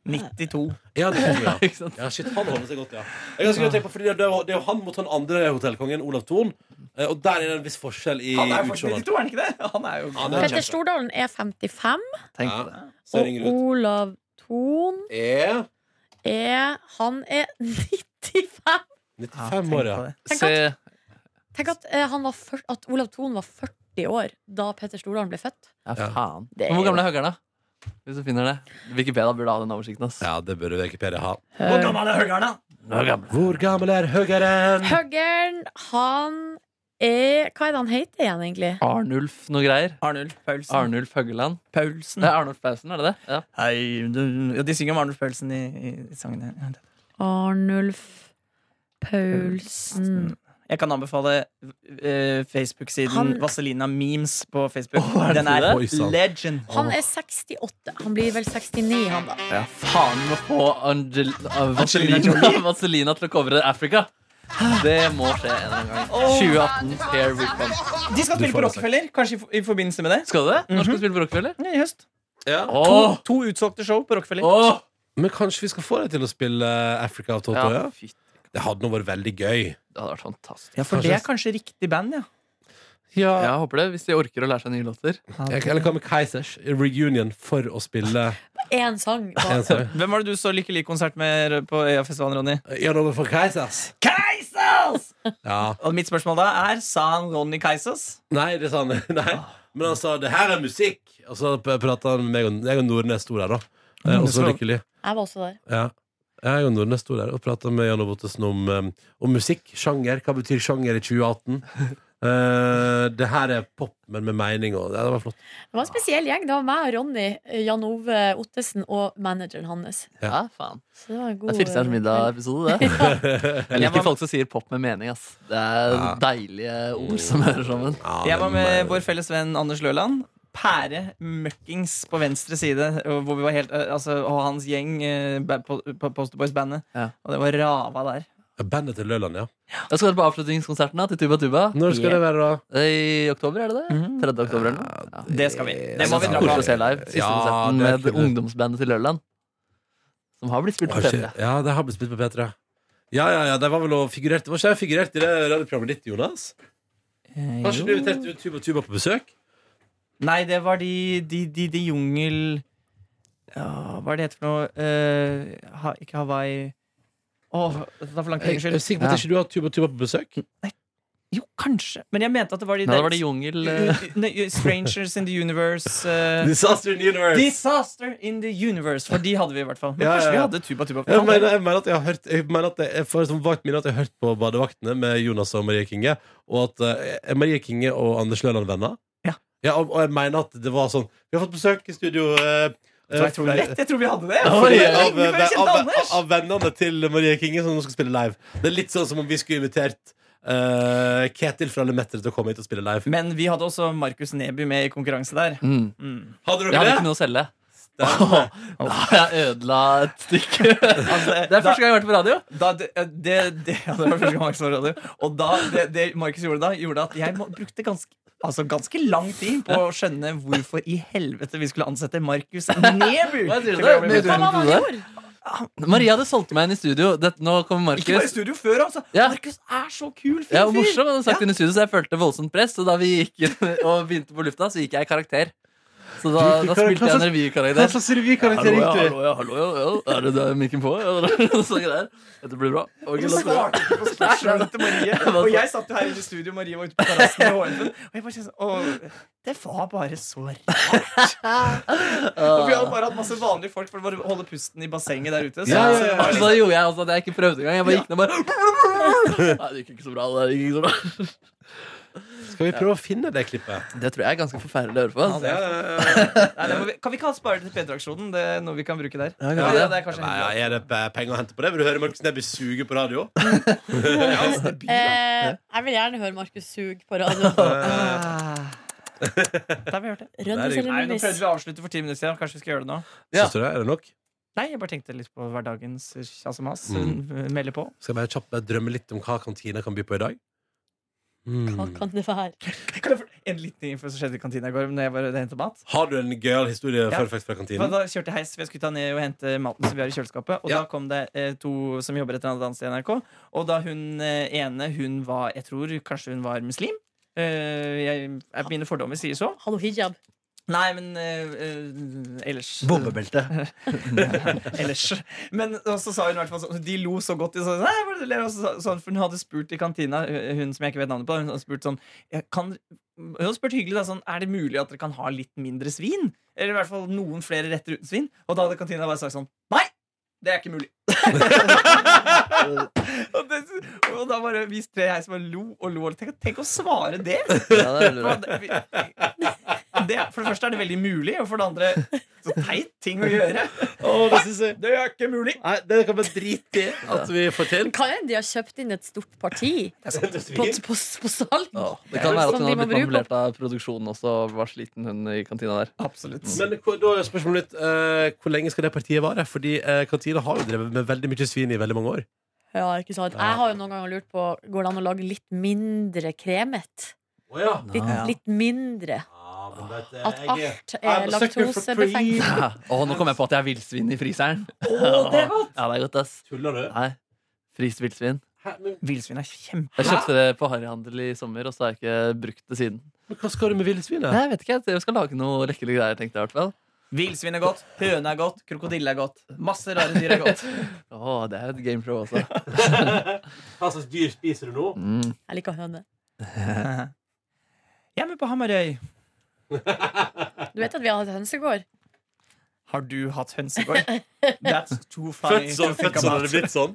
92.
Ja, det tror jeg.
Ikke sant?
Ja, shit, han holder seg godt, ja. Jeg er ganske godt tenkt på, fordi det er jo- det er jo han mot han andre hotellkongen, Olav Thon. eh, Og der er det en viss forskjell i
Han er fortsatt
utseendet.
92, er han ikke det? Han er jo
Han er
Petter
kjempe.
Stordalen er 55,
Tenk
Ja.
på det.
Så
og
ringer det ut.
Olav Thon
Er
er Han er 95.
95 år, ja.
Tenk
Se,
Tenk at, eh, han var fyr- at Olav Thon var 40 år da Petter Stordalen ble født.
ja, faen.
Det er
Men hvor gammel er Høggern, da? Hvis du finner det. Wikipedia burde ha den oversikten. ass
Ja, det burde Wikipedia ha.
Hvor gammel er Høggern, da?
Hvor gammel er høggeren?
Høggern, han er Hva er det han heter igjen, egentlig?
Arnulf noe greier.
Arnulf Paulsen.
Arnulf Høggeland.
Paulsen.
Det er Arnulf Pausen, er det det? Ja.
Hei, du- ja, de synger om Arnulf Paulsen i, i, i sangen. her.
Arnulf Paulsen
Jeg kan anbefale eh, Facebook-siden
Han-
Vazelina Memes på Facebook.
er det
Den er
det? Oi, sant.
legend.
Han er 68. Han blir vel 69, han da.
Ja, faen vi må få Angel uh, Vaselina,
Jolie?
Vaselina til å covre Africa. Det må skje en eller annen gang. 2018, here we come.
De skal spille på Rockefeller, kanskje i, for- i forbindelse med det.
Skal du det? Når skal du spille på Rockefeller?
I høst.
Ja.
Åh,
To utsolgte show på Rockefeller.
åh.
Men kanskje vi skal få deg til å spille eh, Africa av Toto?
Ja,
Ja.
fy, det
Det hadde nå vært veldig gøy.
hadde vært fantastisk.
Ja, for det er kanskje riktig band, ja.
Ja.
Jeg håper det, hvis de orker å lære seg nye låter.
Eller hva med Keisers reunion for å spille
Én sang.
en
Bare.
sang?
Hvem var det du så Lykkelig-konsert med på Øyafestivalen, Ronny?
Ja, noe for Keisers.
Keisers!
Ja.
Og mitt spørsmål da er, sa han Ronny Keisers?
Nei, det sa han. Nei. Men han sa 'det her er musikk', og så p- prata han med meg og, jeg og Nordnes sto der, da.
Mm.
Eh, Og så lykkelig.
Jeg var også der.
Ja. Jeg og Nordnes sto der og prata med Jan Ove Ottesen om, eh, om musikk. Sjanger. Hva betyr sjanger i 2018? Eh, det her er pop, men med mening. Og, ja, det var flott.
Det var en spesiell gjeng. Det var meg og Ronny, eh, Jan Ove Ottesen og manageren hans.
Ja, faen.
Så det var en
Det
god
er Firestjerners middag-episode, det. Jeg
Jeg var-
liker folk som sier pop med mening. ass Det er
Ja.
deilige ord som hører sammen.
Ja,
Jeg var
men, eh,
med vår felles venn Anders Løland. Pære møkkings på venstre side, og hvor vi var helt, eh, altså, og hans gjeng eh, ba- på, på Posterboys-bandet.
Ja.
Og det var rava der.
Bandet til Løland, ja.
Jeg skal være på avslutningskonserten da, til Tuba Tuba.
Når skal det være, da?
Eh, I oktober, er det det? 3. oktober eller noe? Ja.
Det skal vi.
Eh,
Det
Det
må
var
vi dra
koselig
på.
å se live. Siste
Ja,
konserten
det er
med
kult.
ungdomsbandet til Lørland. Som har blitt spilt
Har
på
ikke-
TV.
Ja, det har blitt spilt på P3. Ja, ja, ja, de var vel og figurerte Var ikke de figurert i det radioprogrammet ditt, Jonas? Har ikke du invitert ut Tuba Tuba på besøk?
Nei, det var de, de, de, de jungel... Ja, hva er det heter for noe? Eh, ha, ikke Hawaii Åh, det tar for lang tid.
Jeg er
Unnskyld.
sikker på at
Ja.
ikke du har Tuba Tuba på besøk.
Jo, kanskje. Men jeg mente at det var de
Nei, da var det jungel. eh,
U- u- nei, Strangers in the Universe. eh,
Disaster in Universe.
Disaster in the Universe, for de hadde vi i hvert fall. Men
Ja, ja,
kanskje vi
ja.
hadde Tuba Tuba.
Jeg mener, jeg mener at jeg har hørt Jeg mener at jeg, jeg får som vagt minne at jeg har hørt på Badevaktene med Jonas og Marie Kinge. Og at eh, Marie Kinge og Anders Løland venner.
Ja.
og, og jeg mener at det var sånn Vi har fått besøk i studio. Eh,
Så jeg tror det er rett, jeg tror vi hadde det.
Av,
Fordi-
av, eh,
Vi bare kjente
av,
Anders.
av vennene til Marie Kinge som nå skal spille live. Det er litt sånn som om vi skulle invitert eh, Ketil fra Lemetter til å komme hit og spille live.
Men vi hadde også Markus Neby med i konkurranse der.
Mm.
Mm.
Hadde
Jeg hadde
dere
ikke
det?
noe å selge.
Stemmer.
Nei, jeg ødela et stykke. Det
Altså,
er første gang jeg har vært på radio.
da, da, det, det, det, ja, det var første gang Markus var i radio. Og da, det, det Markus gjorde da, gjorde at jeg må, brukte ganske Altså ganske lang tid på å skjønne hvorfor i helvete vi skulle ansette Markus Neby.
Hva sier du
til å bli med.
det? Ah,
Hva var det han gjorde?
Maria hadde solgt meg inn i studio. Det, nå kommer
Ikke bare i
Markus.
studio før, altså.
Ja.
Markus er så kul. Fin
Ja, og
fyr.
morsom, hadde hun sagt inn i studio, så jeg følte voldsomt press. Og da vi gikk inn og begynte på lufta, så gikk jeg i karakter. Så da,
Du gikk i
da
karakter.
spilte jeg en
Hva
revykarakter.
slags revykarakter
ja,
gikk du i?
hallo, ja, hallo, ja, ja. Er det der mikken på? Ja, sånn greier. Dette blir bra. Og
Du
gud, dette blir bra.
svarte ikke på spørsmålet til Marie. Og jeg satt jo her ute i studio, Marie var ute på terrassen med hårfen. Og jeg bare kjente sånn Åh, det var bare så rart. Og vi hadde bare hatt masse vanlige folk for å bare holde pusten i bassenget der ute. Så,
Ja, ja, ja.
så det var
Så
liksom,
da gjorde jeg altså at jeg ikke prøvde engang. Jeg bare gikk ned og bare Nei, det gikk ikke så bra. Det, der gikk ikke så bra.
Skal vi prøve å finne det klippet?
det tror jeg er ganske forferdelig å høre på. Altså.
Ja, nei, det må vi, kan vi ikke ha spare det til P3-aksjonen? Det er noe vi kan bruke der.
kan
Ja,
vi det?
det er kanskje
Nei,
helt
er det pe- penger å hente på det? Vil du høre Markus Neby suge på radio?
Eh, jeg vil gjerne høre Markus Sug på radioen.
Ah. Da har vi hørt det.
Rønnis eller
Nei, nå
Nunis?
prøvde vi å avslutte for ti minutter siden. Kanskje vi skal gjøre det nå?
Ja.
Syns du det? Er det nok?
Nei, jeg bare tenkte litt på hverdagens kjasemas.
Mm.
Melde på.
Skal jeg bare kjapt bare drømme litt om hva kantina kan by på i dag?
Hva
Mm.
kan det være?
Kan jeg for- En liten info som skjedde i kantina i går Når jeg var og hentet mat.
Har du en gøyal historie
Ja.
fun fact fra
For
kantinen?
Da kjørte jeg heis, for jeg skulle ta ned og hente maten som vi har i kjøleskapet. Og
Ja.
da kom det eh, to som jobber et eller annet sted i NRK. Og da hun eh, ene, hun var Jeg tror kanskje hun var muslim. Eh, jeg, jeg, mine fordommer sier så.
Hadde hun hijab?
Nei, men eh, eh, ellers
Bombebelte.
Ellers. Men og så sa hun i hvert fall sånn De lo så godt. De sa, Nei, hva er det du ler av?» Og så sa- sånn, for hun hadde spurt i kantina, eh, hun som jeg ikke vet navnet på, hun hadde spurt sånn «Ja, kan, Hun hadde spurt hyggelig da sånn Er det mulig at dere kan ha litt mindre svin? Eller i hvert fall noen flere retter uten svin? Og da hadde kantina bare sagt sånn Nei! Det er ikke mulig. og, det, og da bare vi tre jeg som bare lo og lo. og Tenk, tenk å svare det!
Ja, det er veldig bra.
Det, det, for det første er det veldig mulig, og for det andre så teit ting å gjøre.
Å, det synes jeg
Det er ikke mulig.
Nei, det kan man drite i at vi får til.
Kan hende de har kjøpt inn et stort parti på, på, på salg?
Åh, det kan være at
Som
hun
de
har blitt
må bruke
manipulert av produksjonen også og var sliten hun i kantina der.
Absolutt.
Men hvor- da er spørsmålet litt eh, Hvor lenge skal det partiet vare? Fordi eh, kantina har jo drevet med veldig mye svin i veldig mange år.
Ja, ikke sant? Jeg har jo noen ganger lurt på Går det an å lage litt mindre kremet.
Oh, ja.
Litt, litt mindre.
Ah,
At alt er
I'm a sucker for
laktosebefengt.
Åh, nå kom jeg på at jeg har villsvin i fryseren.
det er godt!
Ja, det er godt, ass.
Tuller du?
Nei, Fryst villsvin.
Villsvin er kjempe...
Jeg kjøpte det på harryhandel i sommer, og så har jeg ikke brukt det siden.
Men hva skal du med villsvinet?
Nei, jeg vet ikke, jeg skal lage noe lekkelige greier, tenkte jeg i hvert fall.
Villsvin er godt, høne er godt, krokodille er godt. Masse rare dyr er godt.
Åh, det er jo et gameshow også.
Hva slags dyr spiser du nå?
Mm.
Jeg liker høne.
Hjemme på Hamarøy.
Du vet at vi har hatt hønsegård?
Har du hatt hønsegård? That's too funny.
Født sånn,
to think
født sånn
about.
eller blitt sånn.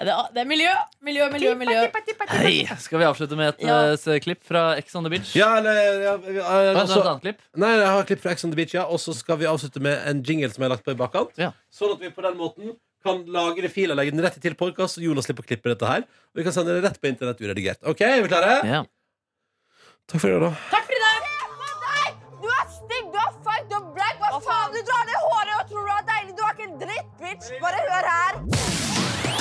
Det er, det er miljø, miljø, miljø. miljø.
Hei, skal vi avslutte med et
Ja.
eh, s- klipp fra Ex on the Beach?
Ja, eller ja, ja,
Vent,
altså-
vent, annet klipp.
Nei, jeg har klipp fra Ex on the Beach, ja. Og så skal vi avslutte med en jingle som jeg har lagt på i bakkant.
Ja.
Sånn at vi på den måten kan lagre fila, legge den rett til podcast, og Jonas slipper å klippe dette her. Og vi kan sende det rett på internett uredigert. OK, er vi klare?
Ja.
Takk for i dag, da.
Du er stygg, du er feig, du er brag. Hva faen? Du drar ned håret og tror du er deilig. Du er ikke en dritt, bitch. Bare hør her.